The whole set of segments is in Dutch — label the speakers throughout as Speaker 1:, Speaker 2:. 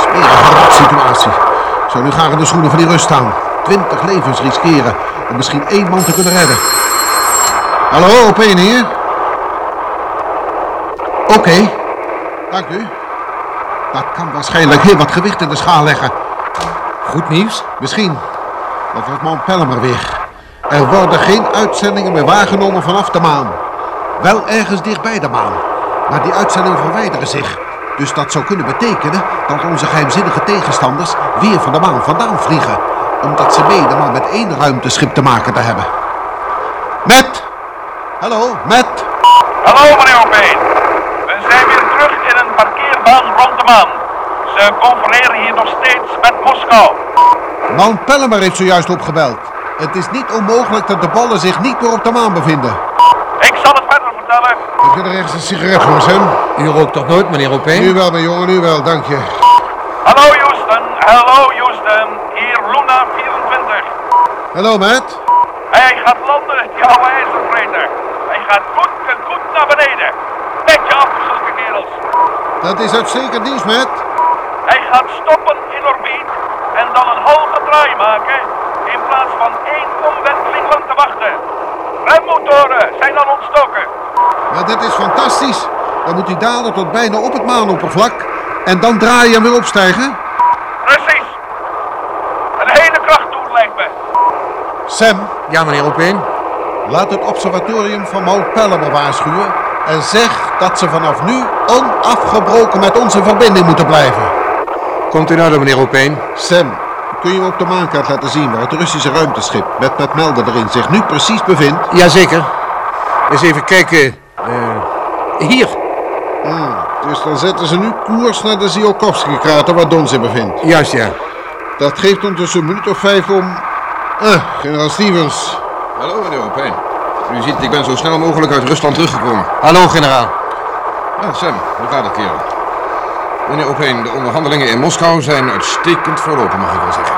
Speaker 1: Smerige situatie. Ik zou nu graag in de schoenen van die rust staan. Twintig levens riskeren om misschien één man te kunnen redden. Hallo, op één hier. Oké, dank u. Dat kan waarschijnlijk heel wat gewicht in de schaal leggen.
Speaker 2: Goed nieuws?
Speaker 1: Misschien. Dat wordt Mount Pelham weer. Er worden geen uitzendingen meer waargenomen vanaf de maan. Wel ergens dichtbij de maan. Maar die uitzendingen verwijderen zich. Dus dat zou kunnen betekenen dat onze geheimzinnige tegenstanders weer van de maan vandaan vliegen. Omdat ze menen maar met één ruimteschip te maken te hebben. Met! Hallo, met!
Speaker 3: Hallo meneer Opeen. We zijn weer terug in een parkeerbaas rond de maan. Ze confereren hier nog steeds met Moskou.
Speaker 1: Mount Pelham heeft zojuist opgebeld. Het is niet onmogelijk dat de ballen zich niet meer op de maan bevinden.
Speaker 3: Ik zal het verder vertellen.
Speaker 1: Heb je er ergens een sigaret voor, Sam?
Speaker 2: U rookt toch nooit, meneer
Speaker 1: Nu
Speaker 2: Opeen?
Speaker 1: wel, mijn jongen, nu wel, dank je.
Speaker 3: Hallo Houston, hallo Houston. Hier Luna 24.
Speaker 1: Hallo, Matt.
Speaker 3: Hij gaat landen, die oude ijzervreter. Hij gaat goed en goed naar beneden. Netje af, zulke kerels.
Speaker 1: Dat is uitstekend nieuws, Matt.
Speaker 3: Hij gaat stoppen in orbiet en dan een halve draai maken in plaats van één omwenteling lang te wachten. Remmotoren zijn al ontstoken.
Speaker 1: Maar dat is fantastisch. Dan moet hij dalen tot bijna op het maanoppervlak. En dan draaien en weer opstijgen.
Speaker 3: Precies. Een hele kracht toe lijkt me.
Speaker 1: Sam,
Speaker 2: Ja, meneer Opeen.
Speaker 1: laat het observatorium van Mount Pelham waarschuwen. En zeg dat ze vanaf nu onafgebroken met ons in verbinding moeten blijven.
Speaker 2: Komt u nou dan, meneer Opeen?
Speaker 1: Sam, kun je me op de maankaart laten zien waar het Russische ruimteschip met met melden erin zich nu precies bevindt?
Speaker 2: Jazeker. Eens even kijken. Eh, hier.
Speaker 1: Hmm, dus dan zetten ze nu koers naar de Tsiolkovsky-krater waar Don zich bevindt.
Speaker 2: Juist, ja.
Speaker 1: Dat geeft ons dus een minuut of vijf om... Eh, generaal Stevens.
Speaker 4: Hallo meneer Opijn. U ziet, ik ben zo snel mogelijk uit Rusland teruggekomen.
Speaker 2: Hallo, generaal.
Speaker 4: Ah, Sam, hoe gaat het kerel? Meneer Opeen, de onderhandelingen in Moskou zijn uitstekend verlopen, mag ik wel zeggen.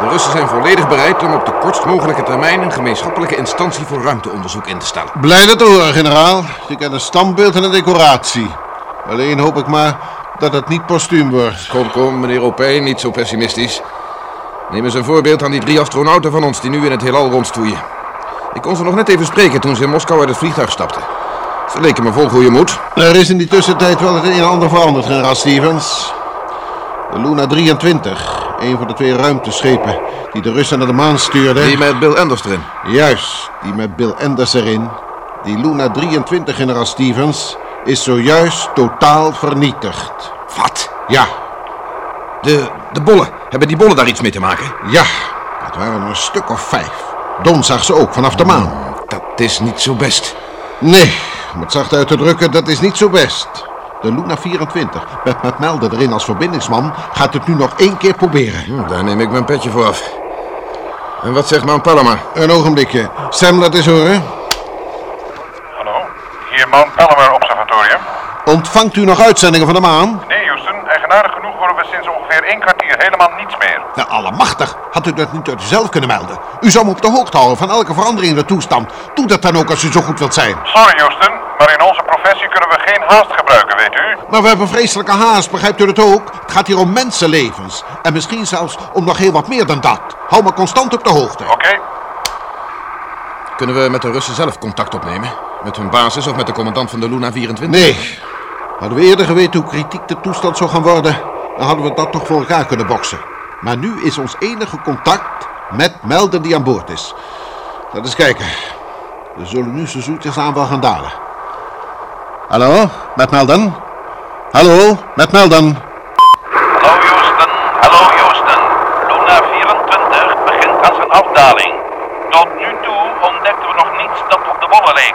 Speaker 4: De Russen zijn volledig bereid om op de kortst mogelijke termijn een gemeenschappelijke instantie voor ruimteonderzoek in te stellen.
Speaker 1: Blij dat te horen, generaal. Je kent een standbeeld en een decoratie. Alleen hoop ik maar dat het niet postuum wordt.
Speaker 4: Kom, kom, meneer Opeen, niet zo pessimistisch. Neem eens een voorbeeld aan die drie astronauten van ons die nu in het heelal rondstoeien. Ik kon ze nog net even spreken toen ze in Moskou uit het vliegtuig stapten. Ze leken me vol goede moed.
Speaker 1: Er is in die tussentijd wel het een en ander veranderd, generaal Stevens. De Luna 23, een van de twee ruimteschepen die de Russen naar de maan stuurden.
Speaker 4: Die met Bill Anders erin.
Speaker 1: Juist, die met Bill Enders erin. Die Luna 23, generaal Stevens, is zojuist totaal vernietigd.
Speaker 4: Wat?
Speaker 1: Ja,
Speaker 4: De, de bollen. Hebben die bollen daar iets mee te maken?
Speaker 1: ja, het waren er een stuk of vijf. Don zag ze ook vanaf de maan.
Speaker 4: Dat is niet zo best.
Speaker 1: Nee, om het zacht uit te drukken, dat is niet zo best. De Luna 24, met Matt Melder erin als verbindingsman, gaat het nu nog één keer proberen.
Speaker 4: Hm, daar neem ik mijn petje voor af. En wat zegt Mount Palama?
Speaker 1: Een ogenblikje. Sam, laat eens horen.
Speaker 3: Hallo, hier Mount Palomar Observatorium.
Speaker 1: Ontvangt u nog uitzendingen van de maan?
Speaker 3: Nee Houston, eigenaardig genoeg worden we sinds ongeveer één kwartier helemaal niets meer.
Speaker 1: Nou, allemachtig. Had u dat niet uit uzelf kunnen melden? U zou me op de hoogte houden van elke verandering in de toestand. Doe dat dan ook als u zo goed wilt zijn.
Speaker 3: Sorry Houston, maar in onze professie kunnen we geen haast gebruiken, weet u?
Speaker 1: Maar we hebben vreselijke haast, begrijpt u dat ook? Het gaat hier om mensenlevens. En misschien zelfs om nog heel wat meer dan dat. Hou me constant op de hoogte.
Speaker 3: Oké.
Speaker 4: Kunnen we met de Russen zelf contact opnemen? Met hun basis of met de commandant van de Luna 24?
Speaker 1: Nee. Hadden we eerder geweten hoe kritiek de toestand zou gaan worden, dan hadden we dat toch voor elkaar kunnen boksen. Maar nu is ons enige contact met Melder die aan boord is. Laten eens kijken. We zullen nu zo zoetjes aan wel gaan dalen. Hallo, met Melden?
Speaker 5: Hallo, met Melden.
Speaker 3: Hallo Houston, hallo Houston. Luna 24 begint aan zijn afdaling. Tot nu toe ontdekten we nog niets dat op de wollen leek.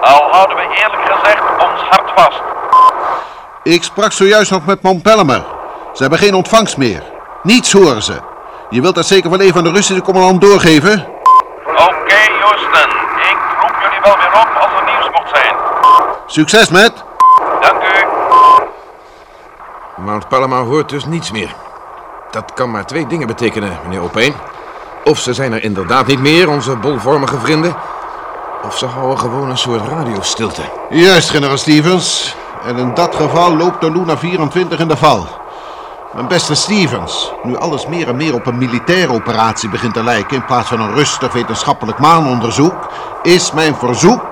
Speaker 3: Al houden we eerlijk gezegd ons hart vast.
Speaker 5: Ik sprak zojuist nog met Montpellimer. Ze hebben geen ontvangst meer. Niets horen ze. Je wilt dat zeker wel even aan de Russische commandant doorgeven?
Speaker 3: Oké Houston, ik roep jullie wel weer op als er nieuws mocht zijn.
Speaker 5: Succes met.
Speaker 3: Dank u.
Speaker 6: Mount Palomar hoort dus niets meer. Dat kan maar twee dingen betekenen, meneer Opeen. Of ze zijn er inderdaad niet meer, onze bolvormige vrienden. Of ze houden gewoon een soort radiostilte.
Speaker 1: Juist, generaal Stevens. En in dat geval loopt de Luna 24 in de val. Mijn beste Stevens, nu alles meer en meer op een militaire operatie begint te lijken... in plaats van een rustig wetenschappelijk maanonderzoek... is mijn verzoek...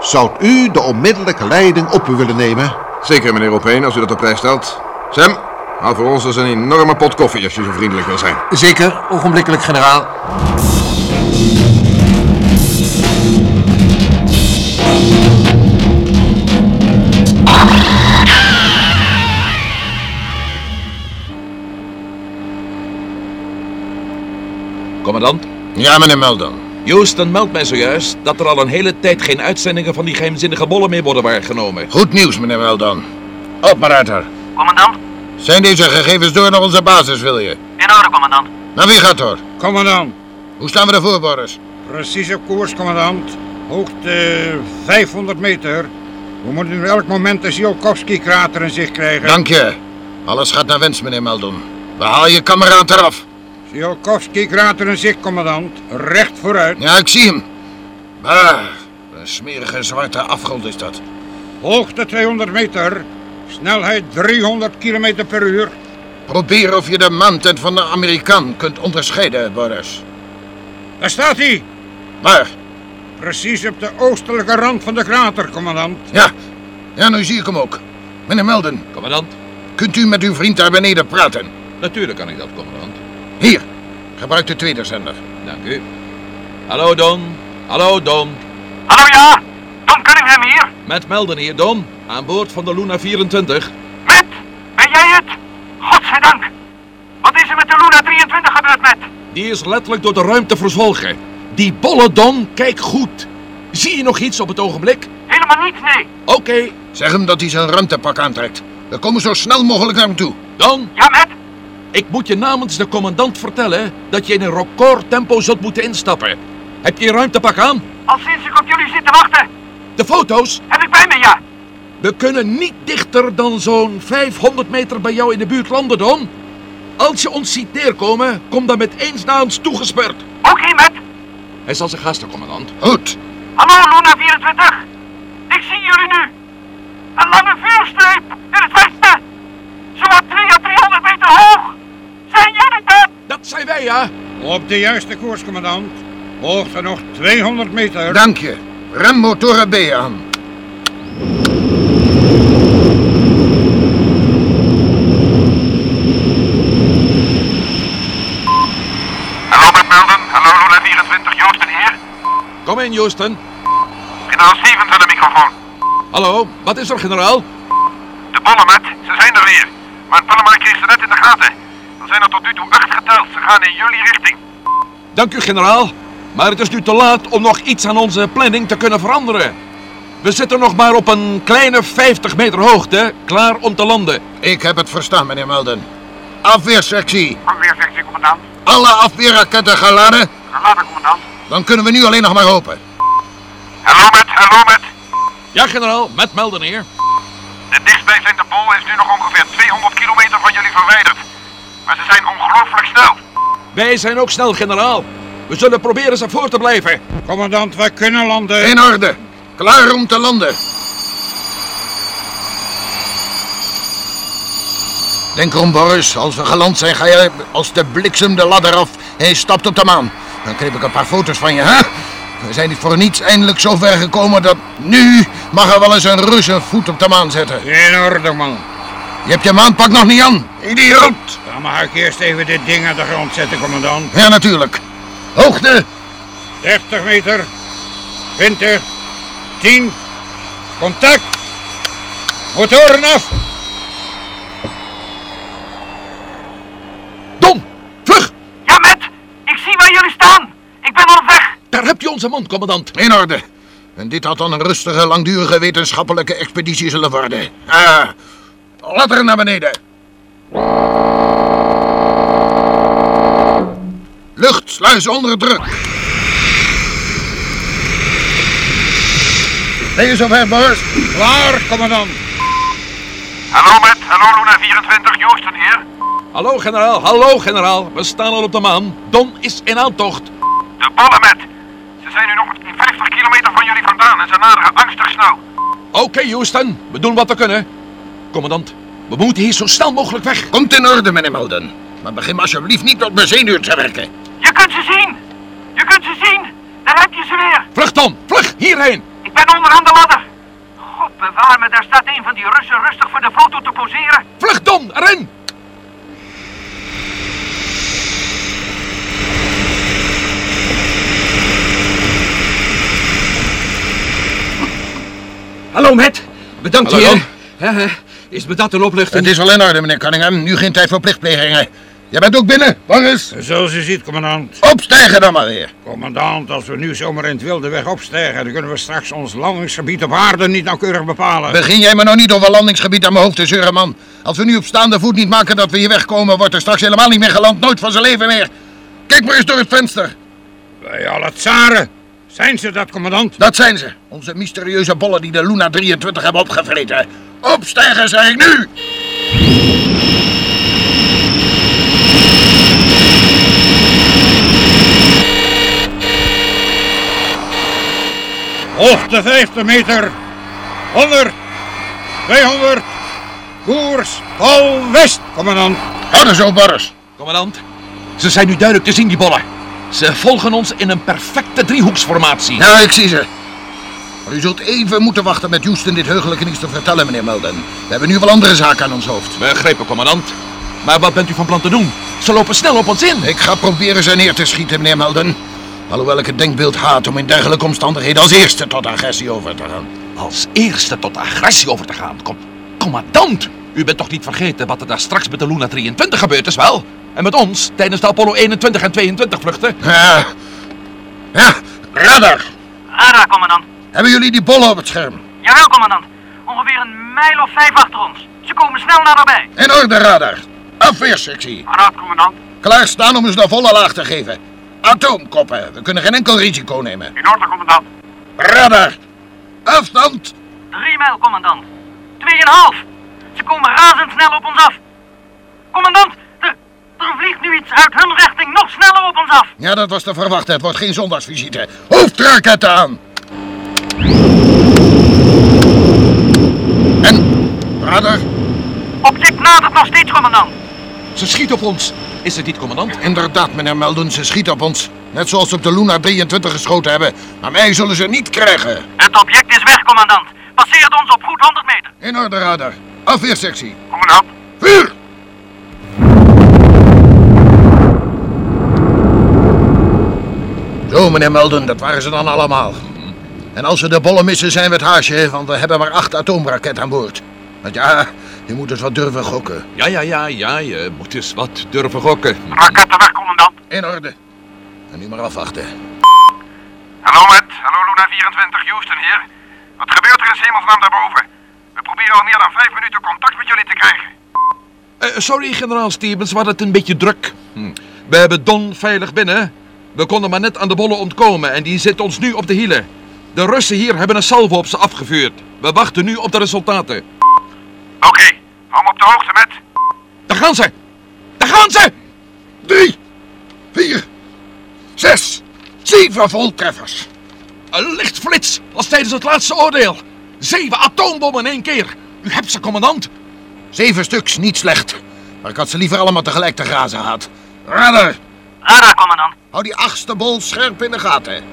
Speaker 1: zou u de onmiddellijke leiding op u willen nemen?
Speaker 6: Zeker, meneer Opeen, als u dat op prijs stelt. Sam, haal voor ons eens een enorme pot koffie als je zo vriendelijk wil zijn.
Speaker 2: Zeker, ogenblikkelijk, generaal.
Speaker 7: Commandant,
Speaker 4: Ja, meneer Meldon.
Speaker 7: Houston meldt mij zojuist dat er al een hele tijd geen uitzendingen van die geheimzinnige bollen meer worden waargenomen.
Speaker 4: Goed nieuws, meneer Meldon. Op, maar Arthur.
Speaker 8: Commandant,
Speaker 4: Zijn deze gegevens door naar onze basis, wil je?
Speaker 8: in orde, commandant.
Speaker 4: Navigator,
Speaker 9: Commandant,
Speaker 4: hoe staan we ervoor, Boris?
Speaker 9: precieze koers, commandant. Hoogte 500 meter. We moeten nu elk moment de Ziolkowski-krater in zicht krijgen.
Speaker 4: Dank je. Alles gaat naar wens, meneer Meldon. We halen je kameraad eraf.
Speaker 9: Ziolkowski-krater in zicht, commandant. Recht vooruit.
Speaker 4: Ja, ik zie hem. Bah, een smerige zwarte afgrond is dat.
Speaker 9: Hoogte 200 meter. Snelheid 300 km per uur.
Speaker 4: Probeer of je de maantent van de Amerikaan kunt onderscheiden, Boris.
Speaker 9: Daar staat hij.
Speaker 4: Maar,
Speaker 9: Precies op de oostelijke rand van de krater, commandant.
Speaker 4: ja. Ja, nu zie ik hem ook. Meneer Meldon,
Speaker 7: Commandant,
Speaker 4: kunt u met uw vriend daar beneden praten?
Speaker 7: natuurlijk kan ik dat, commandant.
Speaker 4: Hier, gebruik de tweede zender.
Speaker 7: Dank u. Hallo Don, hallo Don.
Speaker 8: Hallo ja, Don Cunningham hier.
Speaker 7: Met melden hier, Don. Aan boord van de Luna 24.
Speaker 8: Matt, ben jij het? Godzijdank. Wat is er met de Luna 23 gebeurd, Matt?
Speaker 7: Die is letterlijk door de ruimte verzwolgen. Die bolle Don, kijk goed. Zie je nog iets op het ogenblik?
Speaker 8: Helemaal niets, nee.
Speaker 7: Oké,
Speaker 4: Zeg hem dat hij zijn ruimtepak aantrekt. We komen zo snel mogelijk naar hem toe.
Speaker 7: Don,
Speaker 8: Ja, Matt?
Speaker 7: ik moet je namens de commandant vertellen dat je in een recordtempo zult moeten instappen. Heb je je ruimtepak aan?
Speaker 8: Al sinds ik op jullie zit te wachten,
Speaker 7: De foto's?
Speaker 8: heb ik bij me, ja.
Speaker 7: We kunnen niet dichter dan zo'n 500 meter bij jou in de buurt landen, Don. Als je ons ziet neerkomen, kom dan met eens naar ons toegespurt.
Speaker 8: Oké, Matt.
Speaker 7: Hij zal zijn gasten, commandant.
Speaker 4: Goed.
Speaker 8: Hallo, Luna 24. Ik zie jullie nu. Een lange vuurstreep in het westen. Zowat 2 à 300 meter hoog. Zijn jullie dat?
Speaker 7: Dat zijn wij, ja.
Speaker 9: Op de juiste koers, commandant. Hoogte nog 200 meter.
Speaker 4: Dank je. Rem motoren B aan.
Speaker 3: Hallo met Melden, hallo Luna 24, Joosten hier.
Speaker 7: Kom in, Houston.
Speaker 3: Generaal Stevens aan de microfoon.
Speaker 7: Hallo, wat is er, generaal?
Speaker 3: De bollen, Matt, ze zijn er weer. Maar Panama kreeg ze net in de gaten. Er zijn er tot nu toe acht geteld. Ze gaan in jullie richting.
Speaker 7: Dank u, generaal. Maar het is nu te laat om nog iets aan onze planning te kunnen veranderen. We zitten nog maar op een kleine 50 meter hoogte, klaar om te landen.
Speaker 4: Ik heb het verstaan, meneer Melden. Afweersectie.
Speaker 8: Alweer, zegt de commandant.
Speaker 4: Alle afweerraketten geladen.
Speaker 8: Later, commandant.
Speaker 4: Dan kunnen we nu alleen nog maar hopen.
Speaker 3: Hallo met, hallo met.
Speaker 7: Ja, generaal, met melden hier.
Speaker 3: De dichtstbijzijnde bol is nu nog ongeveer 200 kilometer van jullie verwijderd. Maar ze zijn ongelooflijk snel.
Speaker 7: Wij zijn ook snel, generaal. We zullen proberen ze voor te blijven.
Speaker 9: Commandant, wij kunnen landen.
Speaker 4: In orde. Klaar om te landen. Denk erom, Boris. Als we geland zijn, ga je als de bliksem de ladder af en je stapt op de maan. Dan kreeg ik een paar foto's van je, hè? We zijn niet voor niets eindelijk zo ver gekomen dat nu mag er wel eens een Rus een voet op de maan zetten.
Speaker 9: In orde, man.
Speaker 4: Je hebt je maanpak nog niet aan, idioot!
Speaker 9: Dan mag ik eerst even dit ding aan de grond zetten, commandant.
Speaker 4: Ja, natuurlijk. Hoogte!
Speaker 9: 30 meter. 20. 10. Contact. Motoren af.
Speaker 7: zijn mond, commandant.
Speaker 4: In orde. En dit had dan een rustige, langdurige wetenschappelijke expeditie zullen worden. Ah, ladder naar beneden. Lucht, sluis onder druk. Ben je zover, Boris?
Speaker 9: Klaar, commandant.
Speaker 10: Hallo met, hallo Luna 24, Joosten hier.
Speaker 7: Hallo, generaal. Hallo, generaal. We staan al op de maan. Don is in aantocht.
Speaker 10: De ballen met. Ze zijn nu nog 50 kilometer van jullie vandaan en ze naderen angstig snel.
Speaker 7: Oké, Houston. We doen wat we kunnen. Commandant, we moeten hier zo snel mogelijk weg.
Speaker 4: Komt in orde, meneer Malden. Maar begin maar alsjeblieft niet tot mijn zenuwen te werken.
Speaker 3: Je kunt ze zien! Je kunt ze zien! Daar heb je ze weer!
Speaker 7: Vlug, Don. Vlug, hierheen.
Speaker 3: Ik ben onderaan de ladder! God bewaar me, daar staat een van die Russen rustig voor de foto te poseren.
Speaker 7: Vlug, Don. Erin.
Speaker 11: Hallo, Matt. Bedankt
Speaker 12: Hallo,
Speaker 11: hier. Hè, hè. Is me dat een opluchting?
Speaker 4: Het is al in orde, meneer Cunningham. Nu geen tijd voor plichtplegingen. Jij bent ook binnen, Boris.
Speaker 9: Zoals u ziet, commandant.
Speaker 4: Opstijgen dan maar weer.
Speaker 9: Commandant, als we nu zomaar in het wilde weg opstijgen, dan kunnen we straks ons landingsgebied op aarde niet nauwkeurig bepalen.
Speaker 4: Begin jij maar nou niet over landingsgebied aan mijn hoofd te zeuren, man. Als we nu op staande voet niet maken dat we hier wegkomen, wordt er straks helemaal niet meer geland. Nooit van zijn leven meer. Kijk maar eens door het venster.
Speaker 9: Bij alle tsaren. Zijn ze dat, commandant?
Speaker 4: Dat zijn ze. Onze mysterieuze bollen die de Luna 23 hebben opgevreten. Opstijgen, zeg ik nu!
Speaker 9: Of de 50 meter. 100. 200. Koers. Al west, commandant.
Speaker 4: Houden zo, Boris.
Speaker 7: Commandant, ze zijn nu duidelijk te zien, die bollen. Ze volgen ons in een perfecte driehoeksformatie.
Speaker 4: Ja, ik zie ze. Maar u zult even moeten wachten met Houston dit heugelijke nieuws te vertellen, meneer Melden. We hebben nu wel andere zaken aan ons hoofd.
Speaker 7: Begrepen, commandant. Maar wat bent u van plan te doen? Ze lopen snel op ons in.
Speaker 4: Ik ga proberen ze neer te schieten, meneer Melden. Alhoewel ik het denkbeeld haat om in dergelijke omstandigheden als eerste tot agressie over te gaan.
Speaker 7: Als eerste tot agressie over te gaan. Kom, commandant, u bent toch niet vergeten wat er daar straks met de Luna 23 gebeurd is, wel? En met ons tijdens de Apollo 21 en 22 vluchten?
Speaker 4: Ja. Ja, radar.
Speaker 3: Ada, commandant.
Speaker 4: Hebben jullie die bollen op het scherm?
Speaker 3: Jawel, commandant. Ongeveer een mijl of vijf achter ons. Ze komen snel naderbij.
Speaker 4: In orde, radar. Afweersectie.
Speaker 3: Paraat, commandant.
Speaker 4: Klaarstaan om eens de volle laag te geven. Atoomkoppen. We kunnen geen enkel risico nemen.
Speaker 3: In orde, commandant.
Speaker 4: Radar. Afstand.
Speaker 3: Drie mijl, commandant. Tweeënhalf. Ze komen razendsnel op ons af. Commandant, er, er vliegt nu iets uit hun richting nog sneller op ons af.
Speaker 4: Ja, dat was te verwachten. Het wordt geen zondagsvisite. Hoofdraketten aan! En, radar?
Speaker 3: Object nadert nog steeds, commandant.
Speaker 7: Ze schieten op ons. Is het niet, commandant?
Speaker 4: Inderdaad, meneer Melden, ze schieten op ons. Net zoals ze op de Luna 23 geschoten hebben. Maar mij zullen ze niet krijgen.
Speaker 3: Het object is weg, commandant. Passeert ons op goed 100 meter.
Speaker 4: In orde, radar. Afweersectie.
Speaker 3: Commandant.
Speaker 4: Vuur! Zo, meneer Melden, dat waren ze dan allemaal. En als ze de bollen missen, zijn we het haasje, want we hebben maar acht atoomraketten aan boord. Want ja, je moet dus wat durven gokken.
Speaker 7: Ja, ja, ja, ja, je moet eens wat durven gokken.
Speaker 3: Raketten weg, commandant.
Speaker 4: In orde. En nu maar afwachten.
Speaker 10: Hallo met, hallo Luna 24, Houston hier. Wat gebeurt er in hemelsnaam daarboven? We proberen al meer dan vijf minuten contact met jullie te krijgen.
Speaker 7: Eh, sorry, generaal Stevens, we hadden het een beetje druk. Hm. We hebben Don veilig binnen. We konden maar net aan de bollen ontkomen en die zit ons nu op de hielen. De Russen hier hebben een salvo op ze afgevuurd. We wachten nu op de resultaten.
Speaker 10: Oké, hou me op de hoogte met.
Speaker 7: Daar gaan ze! Daar gaan ze!
Speaker 4: Drie, vier, zes, zeven voltreffers.
Speaker 7: Een lichtflits, als tijdens het laatste oordeel. Zeven atoombommen in één keer. U hebt ze, commandant.
Speaker 4: Zeven stuks, niet slecht. Maar ik had ze liever allemaal tegelijk te grazen gehad. Radar,
Speaker 3: Ada, commandant.
Speaker 4: hou die achtste bol scherp in de gaten.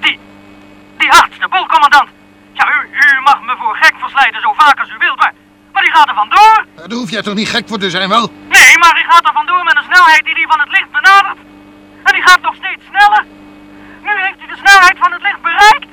Speaker 3: Die, die achtste bol, commandant. Ja, u, u mag me voor gek verslijden zo vaak als u wilt, maar, maar die gaat er vandoor.
Speaker 4: Eh, Daar hoef jij toch niet gek voor te zijn, wel?
Speaker 3: Nee, maar die gaat er vandoor met een snelheid die die van het licht benadert. En die gaat nog steeds sneller. Nu heeft hij de snelheid van het licht bereikt.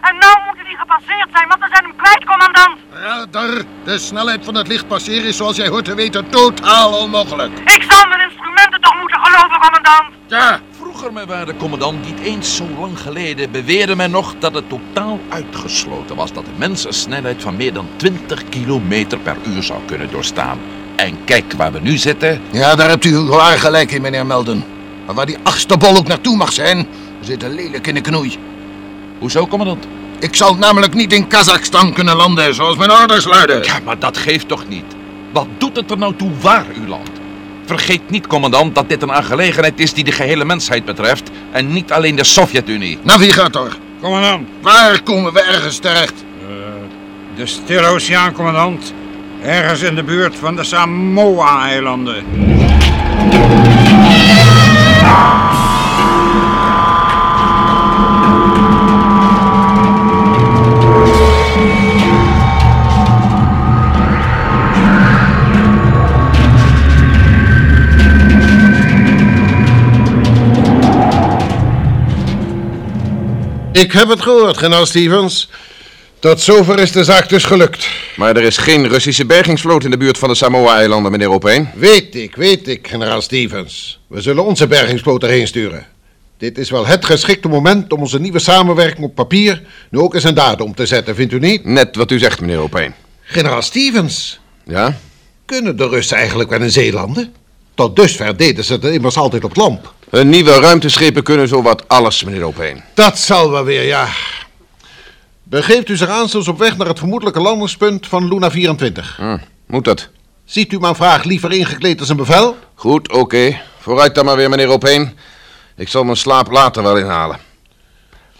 Speaker 3: En nu moeten die gepasseerd zijn, want we zijn hem kwijt, commandant.
Speaker 4: Radar, de snelheid van het licht passeren is, zoals jij hoort te weten, totaal onmogelijk.
Speaker 3: Ik zal mijn instrumenten toch moeten geloven, commandant.
Speaker 4: Ja,
Speaker 7: Vroeg Vroeger, mijn waarde commandant, niet eens zo lang geleden, beweerde men nog dat het totaal uitgesloten was dat de mens een snelheid van meer dan 20 kilometer per uur zou kunnen doorstaan. En kijk waar we nu zitten.
Speaker 13: Ja, daar hebt u waar gelijk in, meneer Melden. Maar waar die achtste bol ook naartoe mag zijn, zit een lelijk in de knoei.
Speaker 7: Hoezo, commandant?
Speaker 13: Ik zal namelijk niet in Kazachstan kunnen landen, zoals mijn orders luiden.
Speaker 7: Ja, maar dat geeft toch niet? Wat doet het er nou toe waar u landt? Vergeet niet, commandant, dat dit een aangelegenheid is die de gehele mensheid betreft en niet alleen de Sovjet-Unie.
Speaker 13: Navigator,
Speaker 9: Commandant, Eh,
Speaker 13: waar komen we ergens terecht?
Speaker 9: de Stille Oceaan, commandant. Ergens in de buurt van de Samoa-eilanden.
Speaker 1: Ik heb het gehoord, generaal Stevens. Tot zover is de zaak dus gelukt.
Speaker 4: Maar er is geen Russische bergingsvloot in de buurt van de Samoa-eilanden, meneer Opeen.
Speaker 1: Weet ik, weet ik, generaal Stevens. We zullen onze bergingsvloot erheen sturen. Dit is wel het geschikte moment om onze nieuwe samenwerking op papier nu ook eens een daad om te zetten, vindt u niet?
Speaker 4: Net wat u zegt, meneer Opeen.
Speaker 1: Generaal Stevens,
Speaker 4: Ja?
Speaker 1: kunnen de Russen eigenlijk wel in Zeelanden? Tot dusver deden ze het immers altijd op het land.
Speaker 4: Hun nieuwe ruimteschepen kunnen zowat alles, meneer Opeen.
Speaker 1: Dat zal wel weer, ja. Begeeft u zich aanstonds op weg naar het vermoedelijke landingspunt van Luna 24.
Speaker 4: Hm, moet dat?
Speaker 1: Ziet u mijn vraag liever ingekleed als een bevel?
Speaker 4: Goed, oké. Vooruit dan maar weer, meneer Opeen. Ik zal mijn slaap later wel inhalen.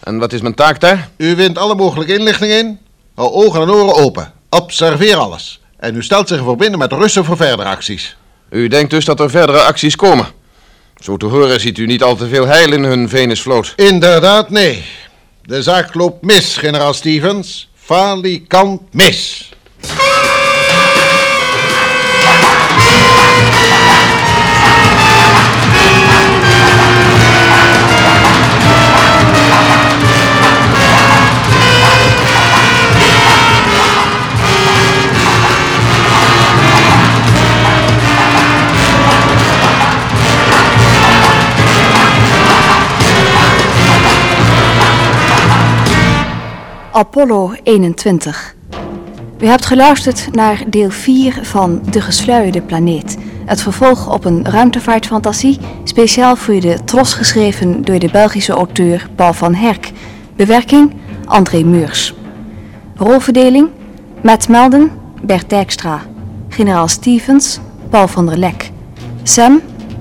Speaker 4: En wat is mijn taak daar?
Speaker 1: U wint alle mogelijke inlichting in. Hou ogen en oren open. Observeer alles. En u stelt zich voor binnen met de Russen voor verdere acties.
Speaker 4: U denkt dus dat er verdere acties komen. Zo te horen ziet u niet al te veel heil in hun Venusvloot.
Speaker 1: Inderdaad, nee. De zaak loopt mis, generaal Stevens. Falikant mis.
Speaker 14: Apollo 21. U hebt geluisterd naar deel 4 van De Gesluierde Planeet. Het vervolg op een ruimtevaartfantasie, speciaal voor de Tros geschreven door de Belgische auteur Paul van Herk. Bewerking André Meurs. Rolverdeling Matt Melden, Bert Dijkstra. Generaal Stevens, Paul van der Lek. Sam,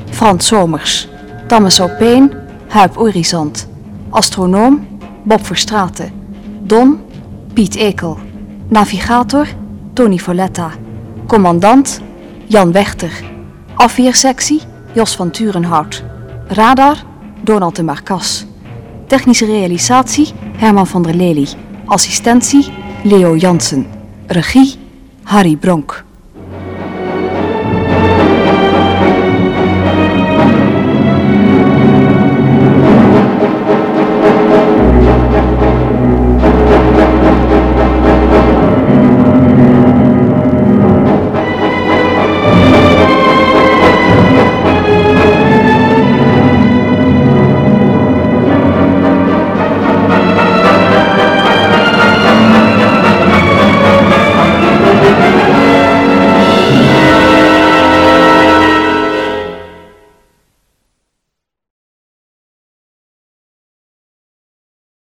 Speaker 14: Frans Somers. Thomas Opeen, Huip Orizant. Astronoom, Bob Verstraeten. Don, Piet Ekel. Navigator, Tony Folletta. Commandant, Jan Wechter. Afweersectie, Jos van Turenhout. Radar, Donald de Marcas. Technische realisatie, Herman van der Lely. Assistentie, Leo Jansen. Regie, Harry Bronk.